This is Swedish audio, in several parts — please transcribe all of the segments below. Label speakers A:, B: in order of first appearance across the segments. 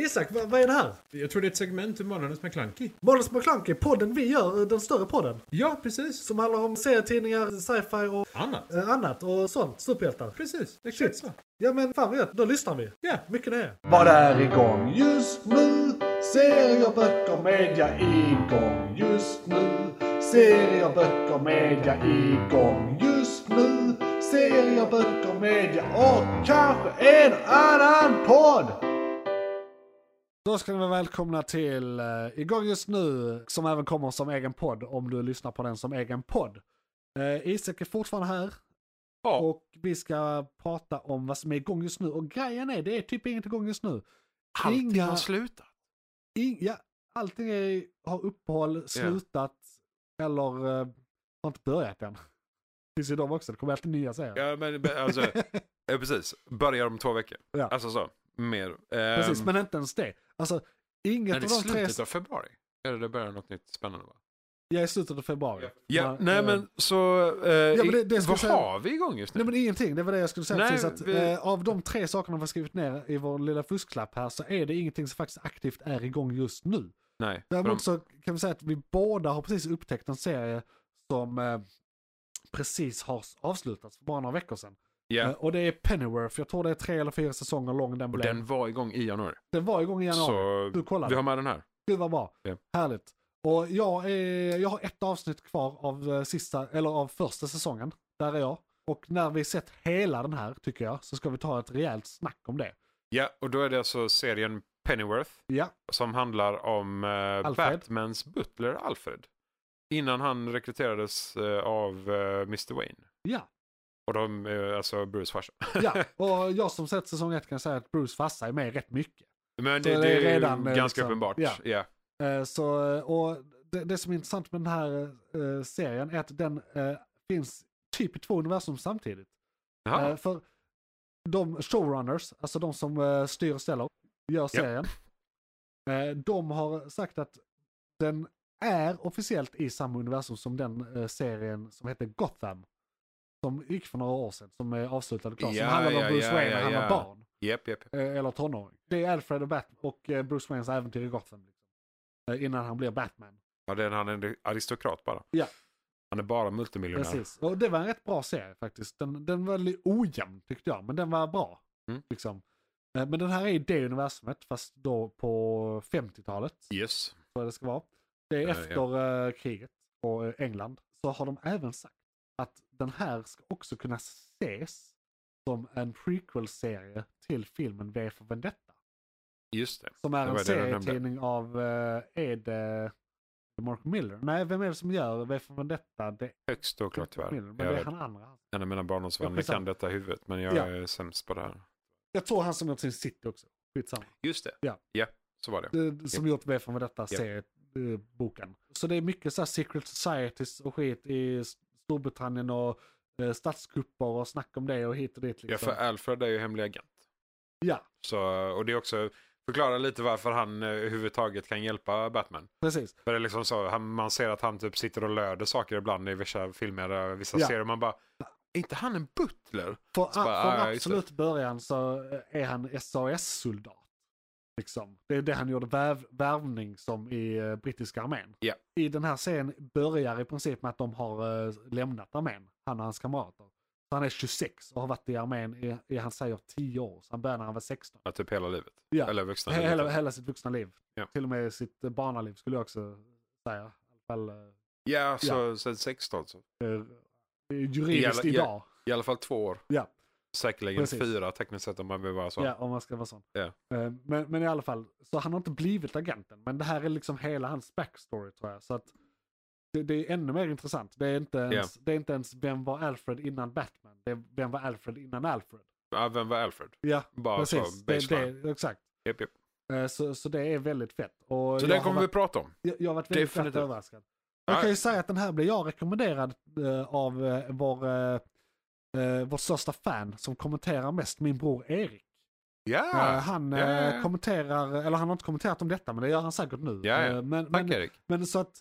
A: Isak, vad, vad är det här?
B: Jag tror det är ett segment ur Månadens McKlunky.
A: Månadens McKlunky, podden vi gör, den större podden.
B: Ja, precis.
A: Som handlar om serietidningar, sci-fi och
B: Annat.
A: eh, annat och sånt. Superhjältar.
B: Precis, exakt
A: Shit.
B: så.
A: Ja men fan vad gött, då lyssnar vi.
B: Ja.
A: Mycket nöje.
C: Vad är igång just nu? Serier, böcker, media igång just nu. Serier, böcker, media igång just nu. Serier, böcker, media och kanske en annan podd. Då ska ni vara välkomna till eh, Igång just nu, som även kommer som egen podd om du lyssnar på den som egen podd. Eh, Isak är fortfarande här
B: Ja.
C: och vi ska prata om vad som är igång just nu. Och grejen är, det är typ inget igång just nu.
D: Allting
C: Inga-
D: har slutat.
C: In, ja, allting är, har uppehåll, slutat eller eh, har inte börjat än. Det finns ju de också, det kommer alltid nya serier.
D: Ja, men be- alltså, ja, precis. Börjar om två veckor.
C: Ja.
D: Alltså så, mer. Ehm,
C: Precis, men inte ens det. Alltså, inget
D: är
C: av
D: det
C: de tre...
D: slutet av februari? Eller det börjar något nytt spännande va?
C: Jag är i slutet av februari.
D: Ja,
C: Man-
D: nej
C: eh,
D: men så, eh,
C: men det- det ska
D: vad
C: jag säga-
D: har vi igång just nu?
C: Nej men ingenting, det var det jag skulle säga
D: Nej,
C: precis. Att,
D: vi-
C: eh, av de tre sakerna vi har skrivit ner i vår lilla fusklapp här så är det ingenting som faktiskt aktivt är igång just nu.
D: nej, för de,
C: Däremot så kan vi säga att vi båda har precis upptäckt en serie som eh, precis har avslutats för bara några veckor sedan.
D: ja,
C: Eh, Och det är Pennyworth, jag tror det är tre eller fyra säsonger lång den
D: och
C: blev.
D: den
C: Den,
D: var igång i januari.
C: var igång i januari,
D: Så
C: du kollade.
D: vi har med den här.
C: gud vad bra.
D: Ja.
C: Härligt. Och jag, är, jag har ett avsnitt kvar av, eh, sista, eller av första säsongen, där är jag. Och när vi sett hela den här, tycker jag, så ska vi ta ett rejält snack om det.
D: Ja, och då är det alltså serien Pennyworth
C: Ja,
D: som handlar om eh,
C: Alfred.
D: Batmans butler Alfred. Innan han rekryterades eh, av eh, Mr. Wayne.
C: ja,
D: Och de, eh, alltså Bruce farsa.
C: ja. Och jag som sett säsong ett kan säga att Bruce farsa är med rätt mycket.
D: Men
C: Så
D: det,
C: det
D: det är
C: är
D: ju
C: redan, eh,
D: ganska
C: liksom,
D: uppenbart.
C: ja.
D: Ja.
C: Eh, Så, eh, och det, det som är intressant med den här eh, serien är att den eh, finns typ i två universum samtidigt.
D: Jaha,
C: Eh, För de showrunners, alltså de som eh, styr och ställer, gör serien. eh, De har sagt att den är officiellt i samma universum som den eh, serien som heter Gotham. Som gick för några år sedan, som är avslutad och klar.
D: Ja,
C: som handlar om
D: ja,
C: Bruce
D: ja,
C: Wayne
D: ja,
C: när han var
D: ja.
C: barn.
D: japp, japp.
C: Eh, eller tonåring. Det är Alfred och, Bat och eh, Bruce Waynes äventyr i Gotham. Liksom. Eh, Innan han blir Batman.
D: Ja, det är, han är en aristokrat bara.
C: Ja.
D: Han är bara multimiljonär.
C: Precis. Och det var en rätt bra serie faktiskt. Den, den var lite ojämn tyckte jag, men den var bra.
D: Mm.
C: Liksom. Eh, Men den här är i det universumet, fast då på 50-talet.
D: Yes.
C: Vad det ska vara. Det är
D: Ja, ja.
C: efter eh, kriget och eh, England. Så har de även sagt att den här ska också kunna ses som en prequel-serie till filmen V för Vendetta.
D: Just det.
C: Som är
D: Det
C: en
D: var det du nämnde.
C: serietidning av, eh, är det Mark Miller? Nej, vem är det som gör V för Vendetta? Det är
D: Högst oklart
C: Mark
D: tyvärr.
C: Miller, men
D: jag
C: det är
D: vet.
C: han andra.
D: En av mina barndomsvänner
C: Ja,
D: kan detta i huvudet, men jag
C: Ja.
D: är sämst på det här.
C: Jag tror han som gjort sin City också. Skitsamma.
D: Just det.
C: Ja.
D: ja så var det.
C: Eh, Som gjort V för Vendetta
D: Ja.
C: serieboken. Så det är mycket så här Secret Societies och skit i S- Storbritannien och eh, statskupper och snack om det och hit och dit.
D: Ja,
C: Liksom.
D: för Alfred är ju hemlig agent.
C: Ja,
D: Så, och det är också, förklara lite varför han eh, överhuvudtaget kan hjälpa Batman.
C: precis.
D: För det är liksom så, han, man ser att han typ sitter och löder saker ibland i vissa filmer och vissa
C: Ja.
D: serier. Man bara, är inte han en butler?
C: För,
D: Så bara,
C: från
D: ah, ja, just det.
C: absolut början så eh, är han SAS-soldat. Liksom. Det är det han gjorde värv, värvning som i eh, brittiska armén.
D: Ja.
C: I den här serien börjar i princip med att de har eh, lämnat armén, han och hans kamrater. Så han är 26 och har varit i armén i, i han säger 10 år. Så han började när han var 16.
D: Ja, typ hela livet.
C: Ja.
D: Eller vuxna
C: He-
D: livet.
C: Hela, hela sitt vuxna liv.
D: Ja.
C: Till och med sitt eh, barnaliv skulle jag också säga. I alla fall eh,
D: Ja, så sen 16 så.
C: eh, juridiskt
D: I alla- ja.
C: idag.
D: I alla fall två år.
C: Ja.
D: Säkerligen
C: Precis.
D: fyra tekniskt sett om man vill vara så.
C: Ja, om man ska vara sån.
D: Ja.
C: Eh, Men, men i alla fall, så han har inte blivit agenten. Men det här är liksom hela hans backstory tror jag. Så att det, det är ännu mer intressant. Det är, inte ens, det är inte ens vem var Alfred innan Batman. Det är vem var Alfred innan Alfred.
D: Ja, vem var Alfred?
C: Ja,
D: Bara
C: precis.
D: så,
C: Det,
D: baseline.
C: det, exakt.
D: Japp, japp.
C: Eh, Så, så det är väldigt fett. Och
D: Så
C: jag,
D: den
C: har
D: kommer vi
C: varit,
D: prata om.
C: jag, jag har varit väldigt glatt
D: Definitivt.
C: överraskad. Jag kan ju säga att den här blev jag rekommenderad eh, av eh, vår, eh, eh, vår största fan som kommenterar mest, min bror Erik. Eh,
D: Ja,
C: han
D: ja,
C: eh,
D: ja, ja.
C: kommenterar, eller han har inte kommenterat om detta men det gör han säkert nu.
D: Ja, ja.
C: Eh, Men,
D: tack
C: men,
D: Erik.
C: men så att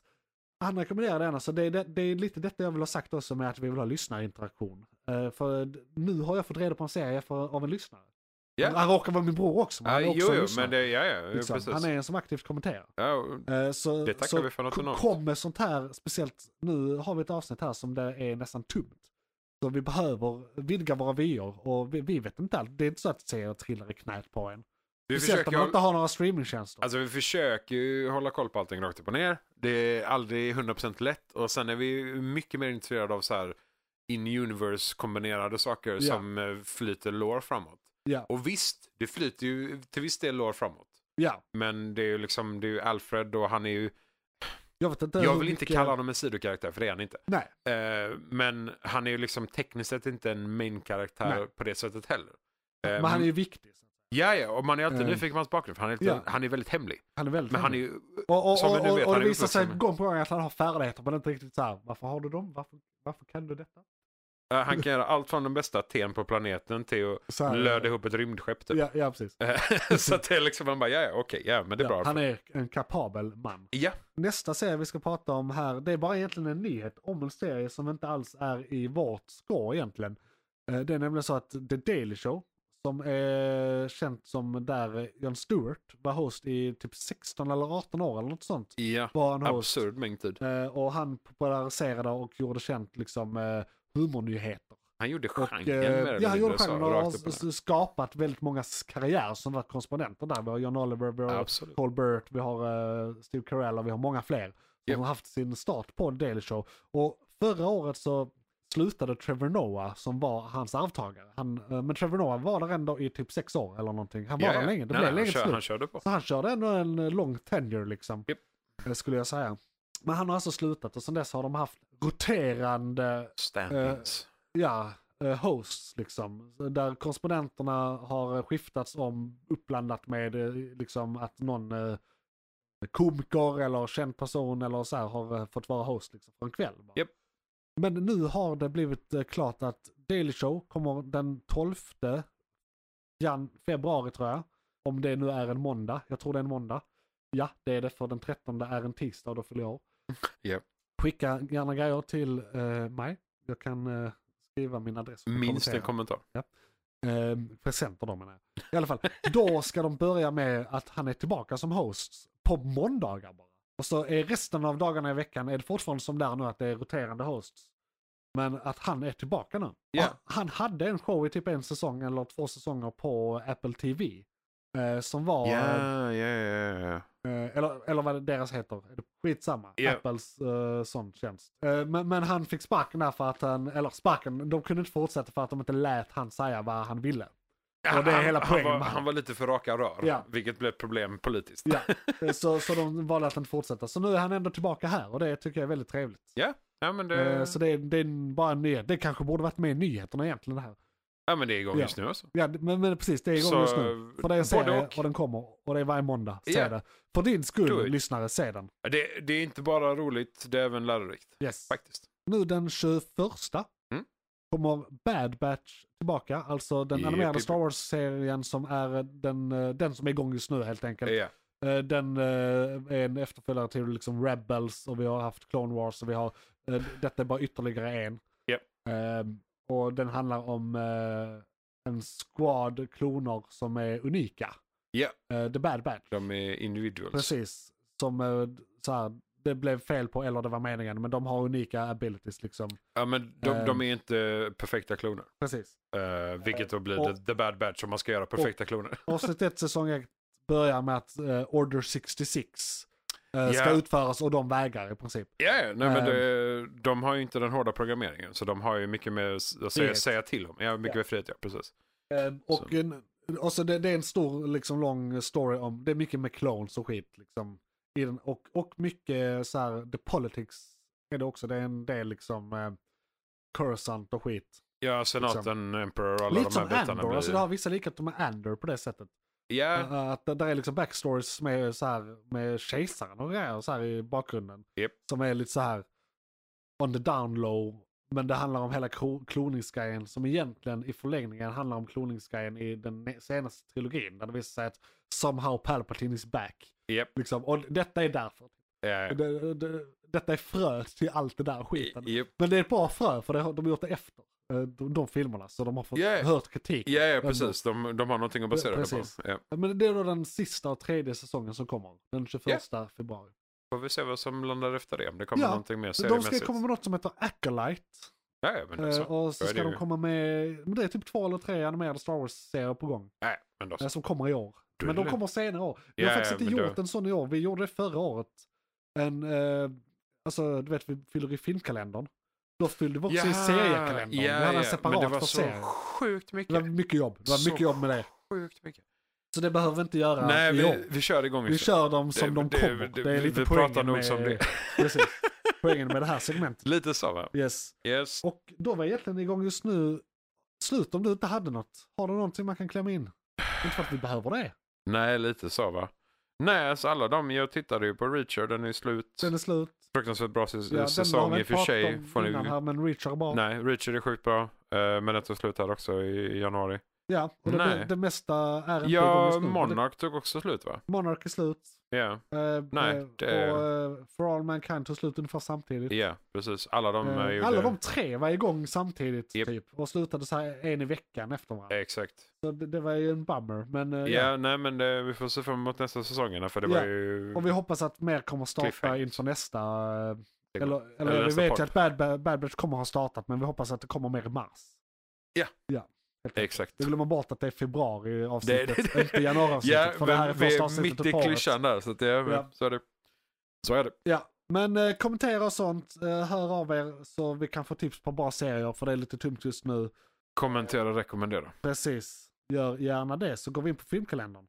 C: han rekommenderar den. Alltså det, är det, det är lite detta jag vill ha sagt också med att vi vill ha lyssnarinteraktion. Eh, För d- nu har jag fått reda på en serie för, av en lyssnare.
D: Ja.
C: Han råkar vara min bror också. Men
D: Ja,
C: han är
D: jo,
C: också en
D: jo,
C: lyssnare,
D: men det, ja, ja, ja,
C: liksom.
D: precis.
C: Han är en som aktivt kommenterar.
D: Ja,
C: Eh, Så,
D: Det tackar
C: så
D: vi för något
C: ko-
D: enormt.
C: kom med sånt här, speciellt nu har vi ett avsnitt här som det är nästan tomt. Så vi behöver vidga våra vyer och vi, vi vet inte allt. Det är inte så att serier trillar i knät på en.
D: vi
C: speciellt
D: försöker
C: om man inte har några streamingtjänster.
D: Alltså vi försöker ju hålla koll på allting rakt upp och ner. Det är aldrig 100% lätt och sen är vi mycket mer intresserade av så här in-universe kombinerade saker
C: Ja.
D: som eh, flyter lore framåt.
C: Ja.
D: Och visst, det flyter ju till viss del lore framåt.
C: ja,
D: Men det är ju liksom, det är ju Alfred och han är ju,
C: jag vet inte
D: jag
C: hur
D: vill inte
C: mycket-
D: kalla honom en sidokaraktär för det är han inte.
C: Nej,
D: Eh, men han är ju liksom tekniskt sett inte en main-karaktär
C: Nej.
D: på det sättet heller. Eh,
C: men han är ju viktig. så.
D: Ja, ja, och man är alltid
C: Eh.
D: nyfiken på hans bakgrund för han är, lite,
C: Ja. Mm.
D: han är väldigt hemlig.
C: Han är väldigt
D: Men han är
C: hemlig.
D: ju
C: och, och,
D: som vi nu
C: och,
D: vet,
C: och,
D: han
C: det
D: är
C: visar sig
D: uppvuxen-
C: gång på gång att han har färdigheter men inte riktigt så här, varför har du dem? Varför, varför kan du detta?
D: Ja, Eh, Han kan göra allt från den bästa ten på planeten till
C: Så här-
D: att löda ihop ett rymdskepp typ.
C: Ja, ja precis.
D: så att det är liksom, man bara, ja, ja okej, ja, men det är
C: Ja,
D: bra.
C: han är en kapabel man.
D: Ja,
C: Nästa serie vi ska prata om här, det är bara egentligen en nyhet om en serie som inte alls är i vårt skår egentligen. Eh, Det är nämligen så att The Daily Show, som är känt som där eh, Jon Stewart var host i typ 16 eller 18 år eller något sånt.
D: ja.
C: Var han host.
D: absurd mängd tid.
C: Eh, Och han populariserade och gjorde känt liksom eh, humornyheter.
D: Han gjorde
C: Och,
D: genren mer
C: eh,
D: eller
C: ja, han gjorde
D: mindre, så,
C: genren och har
D: rakt upp och
C: s- skapat väldigt många s- karriärer som varit korrespondenter där. Vi har John Oliver, vi
D: ner.
C: har
D: Absolut.
C: Colbert, vi har eh, Steve Carell och vi har många fler som
D: Japp.
C: har haft sin start på en Daily Show. Och förra året så slutade Trevor Noah som var hans arvtagare. Han, eh, men Trevor Noah var där ändå i typ sex år eller någonting. Han var
D: Ja,
C: där
D: ja.
C: länge, det
D: Nej,
C: blev
D: nej,
C: länge
D: han, kör, han
C: slut.
D: körde på.
C: Så han körde ändå en eh, lång tenure liksom.
D: Japp.
C: eh, Skulle jag säga. Men han har alltså slutat och sedan dess har de haft roterande
D: Standings.
C: ja, eh, hosts liksom. Där korrespondenterna har skiftats om uppblandat med eh, liksom att någon eh, komiker eller känd person eller så här har eh, fått vara host liksom för en kväll. va.
D: Japp.
C: Men nu har det blivit eh, klart att Daily Show kommer den 12 jan februari tror jag. Om det nu är en måndag. Jag tror det är en måndag. Ja, det är det för den 13 är en tisdag och då fyller jag år.
D: Japp.
C: Skicka gärna grejer till eh, mig. Jag kan eh, skriva min adress. och
D: Minst
C: kommentera.
D: en kommentar.
C: Eh, presenter då menar jag. I alla fall, då ska de börja med att han är tillbaka som host på måndagar bara. Och så är resten av dagarna i veckan är det fortfarande som där nu att det är roterande hosts. Men att han är tillbaka nu.
D: Ja.
C: Och Han hade en show i typ en säsong eller två säsonger på Apple TV. Eh, som var,
D: Ja, ja, ja, ja.
C: eh, eller, eller vad deras heter, Är det skitsamma.
D: Ja.
C: Apples eh, sån tjänst. Eh, men, men han fick sparken där för att han, eller sparken, de kunde inte fortsätta för att de inte lät han säga vad han ville.
D: ja.
C: Och det är hela
D: han,
C: poängen
D: han,
C: med
D: var,
C: han.
D: han var lite för raka rör,
C: Ja.
D: vilket blev ett problem politiskt.
C: Ja, så, så de valde att inte fortsätta. Så nu är han ändå tillbaka här och det tycker jag är väldigt trevligt.
D: Ja, men
C: Eh,
D: det,
C: Så det är, det är bara en nyhet. Det kanske borde varit med i nyheterna egentligen det här.
D: ja, men det är igång
C: Ja.
D: just nu alltså.
C: Ja, men, men precis, det är igång
D: Så,
C: just nu. För det är en
D: både
C: serie och.
D: och.
C: den kommer. Och det är varje måndag. Se
D: Ja.
C: det. För din
D: Do
C: skull,
D: it.
C: lyssnare, se den.
D: Det, det är inte bara roligt, det är även lärorikt.
C: Yes.
D: Faktiskt.
C: Nu den 21
D: Mm.
C: kommer Bad Batch tillbaka. Alltså den
D: Jippie.
C: animerade Star Wars-serien som är den, eh, den som är igång just nu helt enkelt.
D: Ja.
C: Eh, Den eh, är en efterföljare till liksom Rebels och vi har haft Clone Wars och vi har, eh, detta är bara ytterligare en.
D: Japp.
C: Eh, Och den handlar om eh, en squad kloner som är unika.
D: Ja.
C: Eh, The Bad Batch.
D: De är individuals.
C: Precis. Som eh, så här, det blev fel på eller det var meningen men de har unika abilities liksom.
D: Ja, men de,
C: Eh.
D: de är inte perfekta kloner.
C: Precis.
D: Eh, vilket då blir
C: Och-
D: the, the bad batch om man ska göra perfekta kloner.
C: Avsnitt 1 säsong 1 börjar med att eh, Order 66 eh, ska
D: Ja.
C: utföras och de vägrar i princip.
D: Ja, ja, nej men det, Ehm. de har ju inte den hårda programmeringen. Så de har ju mycket mer att säga,
C: Frihet.
D: säga till om. Ja, mycket
C: Ja.
D: mer frihet, ja, precis.
C: Eh,
D: Så.
C: och en, och så det, det är en stor, liksom lång story om, det är mycket med clones och skit liksom. I den, och, och mycket så här, the politics är det också, det är en del liksom eh, Coruscant och skit.
D: Ja, senaten, emperor och alla
C: Liksom. Lite
D: de
C: som
D: här bitarna.
C: Andor, alltså det har vissa likheter med Andor på det sättet.
D: Ja,
C: Eh, Att det där är liksom backstories med, så här, med kejsaren och grejer så här i bakgrunden.
D: Japp.
C: Som är lite så här on the down low. Men det handlar om hela kro- kloningsgrejen som egentligen i förlängningen handlar om kloningsgrejen i den ne- senaste trilogin. Där det visar sig att somehow Palpatine is back.
D: Japp.
C: Liksom, och detta är därför.
D: ja,
C: Det, det, detta är fröet till allt det där skiten.
D: ja.
C: Men det är ett bra frö för det har, de har gjort det efter. eh, de, de filmerna. Så de har fått
D: Yeah.
C: hört kritik.
D: Ja, ja precis. De, de har någonting att basera det
C: Precis.
D: på. Ja.
C: Men det är då den sista och tredje säsongen som kommer. Den 21 februari.
D: Får vi se vad som landar efter det. Om det kommer
C: Ja,
D: någonting mer
C: De ska
D: seriemässigt.
C: komma med något som heter Acolyte.
D: Ja, ja, men det är
C: eh,
D: så.
C: Och så
D: Då är
C: ska
D: det
C: de
D: ju-
C: komma med, men det är typ två eller tre animerade Star Wars-serier på gång.
D: Nej, men då
C: eh,
D: så.
C: Som kommer i år.
D: Du-
C: Men de kommer senare år. Vi
D: Ja,
C: har faktiskt
D: ja,
C: inte
D: men
C: gjort
D: då-
C: en sån i år. Vi gjorde det förra året. En, eh, alltså du vet vi fyller i filmkalendern. Då fyllde vi också i seriekalendern. vi hade en separat
D: men det var
C: för
D: så
C: serier.
D: sjukt mycket.
C: Det var mycket jobb. Det var
D: Så
C: mycket jobb med det.
D: Sjukt mycket.
C: Så det behöver vi inte göra
D: Nej,
C: i
D: vi,
C: år.
D: vi kör igång.
C: Vi kör dem som
D: Det-
C: de
D: det-
C: kommer.
D: det-
C: Det, är
D: vi-
C: lite
D: vi
C: poängen
D: pratar nog
C: med,
D: som det.
C: precis, poängen med det här segmentet.
D: Lite så va?
C: Yes.
D: Yes.
C: Och då var jag egentligen igång just nu. Slut om du inte hade något. Har du någonting man kan klämma in? Inte för att vi behöver det.
D: Nej, lite så va? Nej, alltså alla de, jag tittade ju på Reacher, den är slut.
C: Sen är slut.
D: Fruktansvärt bra säs-
C: Ja, den har
D: säsong
C: vi
D: i och för
C: pratat
D: sig.
C: om
D: Får ni...
C: innan här, men Richard bara.
D: Nej, Reacher är sjukt bra. eh, Men den tog slut här också i i januari.
C: Ja, och det,
D: Nej.
C: det mesta är inte igång
D: Ja,
C: just nu. Men det-
D: Monarch tog också slut va?
C: Monarch är slut.
D: Ja,
C: Eh,
D: Nej,
C: eh,
D: det-
C: Och eh, For All Mankind tog slut ungefär samtidigt.
D: ja, precis. Alla de eh,
C: Eh,
D: gjorde...
C: Alla de tre var igång samtidigt
D: Japp.
C: typ. Och slutade så här en i veckan efter varandra.
D: Exakt.
C: Så det, det var ju en bummer. Men eh,
D: Ja,
C: ja.
D: nej men det, vi får se fram emot nästa säsongerna för det
C: Ja,
D: var ju...
C: Och vi hoppas att mer kommer starta
D: Cliffhanger.
C: inför nästa. eh,
D: Det-
C: Eller, eller,
D: eller
C: vi
D: nästa
C: vet
D: podd.
C: ju att Bad, Bad, Bad Batch kommer ha startat men vi hoppas att det kommer mer i mars.
D: Ja.
C: ja helt enkelt.
D: Exakt.
C: Vi glömmer bort att det är februari avsnittet,
D: Det- det-
C: inte januari avsnittet.
D: Ja,
C: för det här är
D: vi
C: första
D: är
C: avsnittet
D: mitt i
C: på året.
D: klyschan där så att det,
C: Ja.
D: ja. så är det. Så är det.
C: Ja, men eh, kommentera och sånt. Eh, hör av er så vi kan få tips på bra serier för det är lite tomt just nu.
D: Kommentera, rekommendera.
C: Precis. Gör gärna det så går vi in på filmkalendern.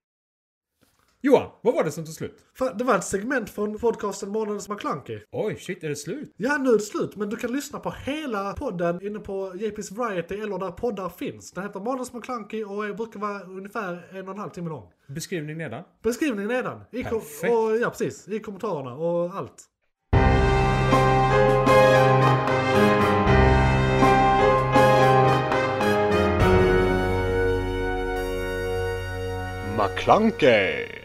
B: Johan, vad var det som tog slut?
A: Fan, det var ett segment från podcasten Månadens McKlunky.
B: Oj, shit, är det slut?
A: Ja, nu är det slut, men du kan lyssna på hela podden inne på JP's Variety eller där poddar finns. Den heter Månadens McKlunky och är- brukar vara ungefär en och en halv timme lång.
B: Beskrivning nedan.
A: Beskrivningen nedan. I kom-
B: Perfekt.
A: och, ja, precis. I kommentarerna och allt.
C: McClunkey!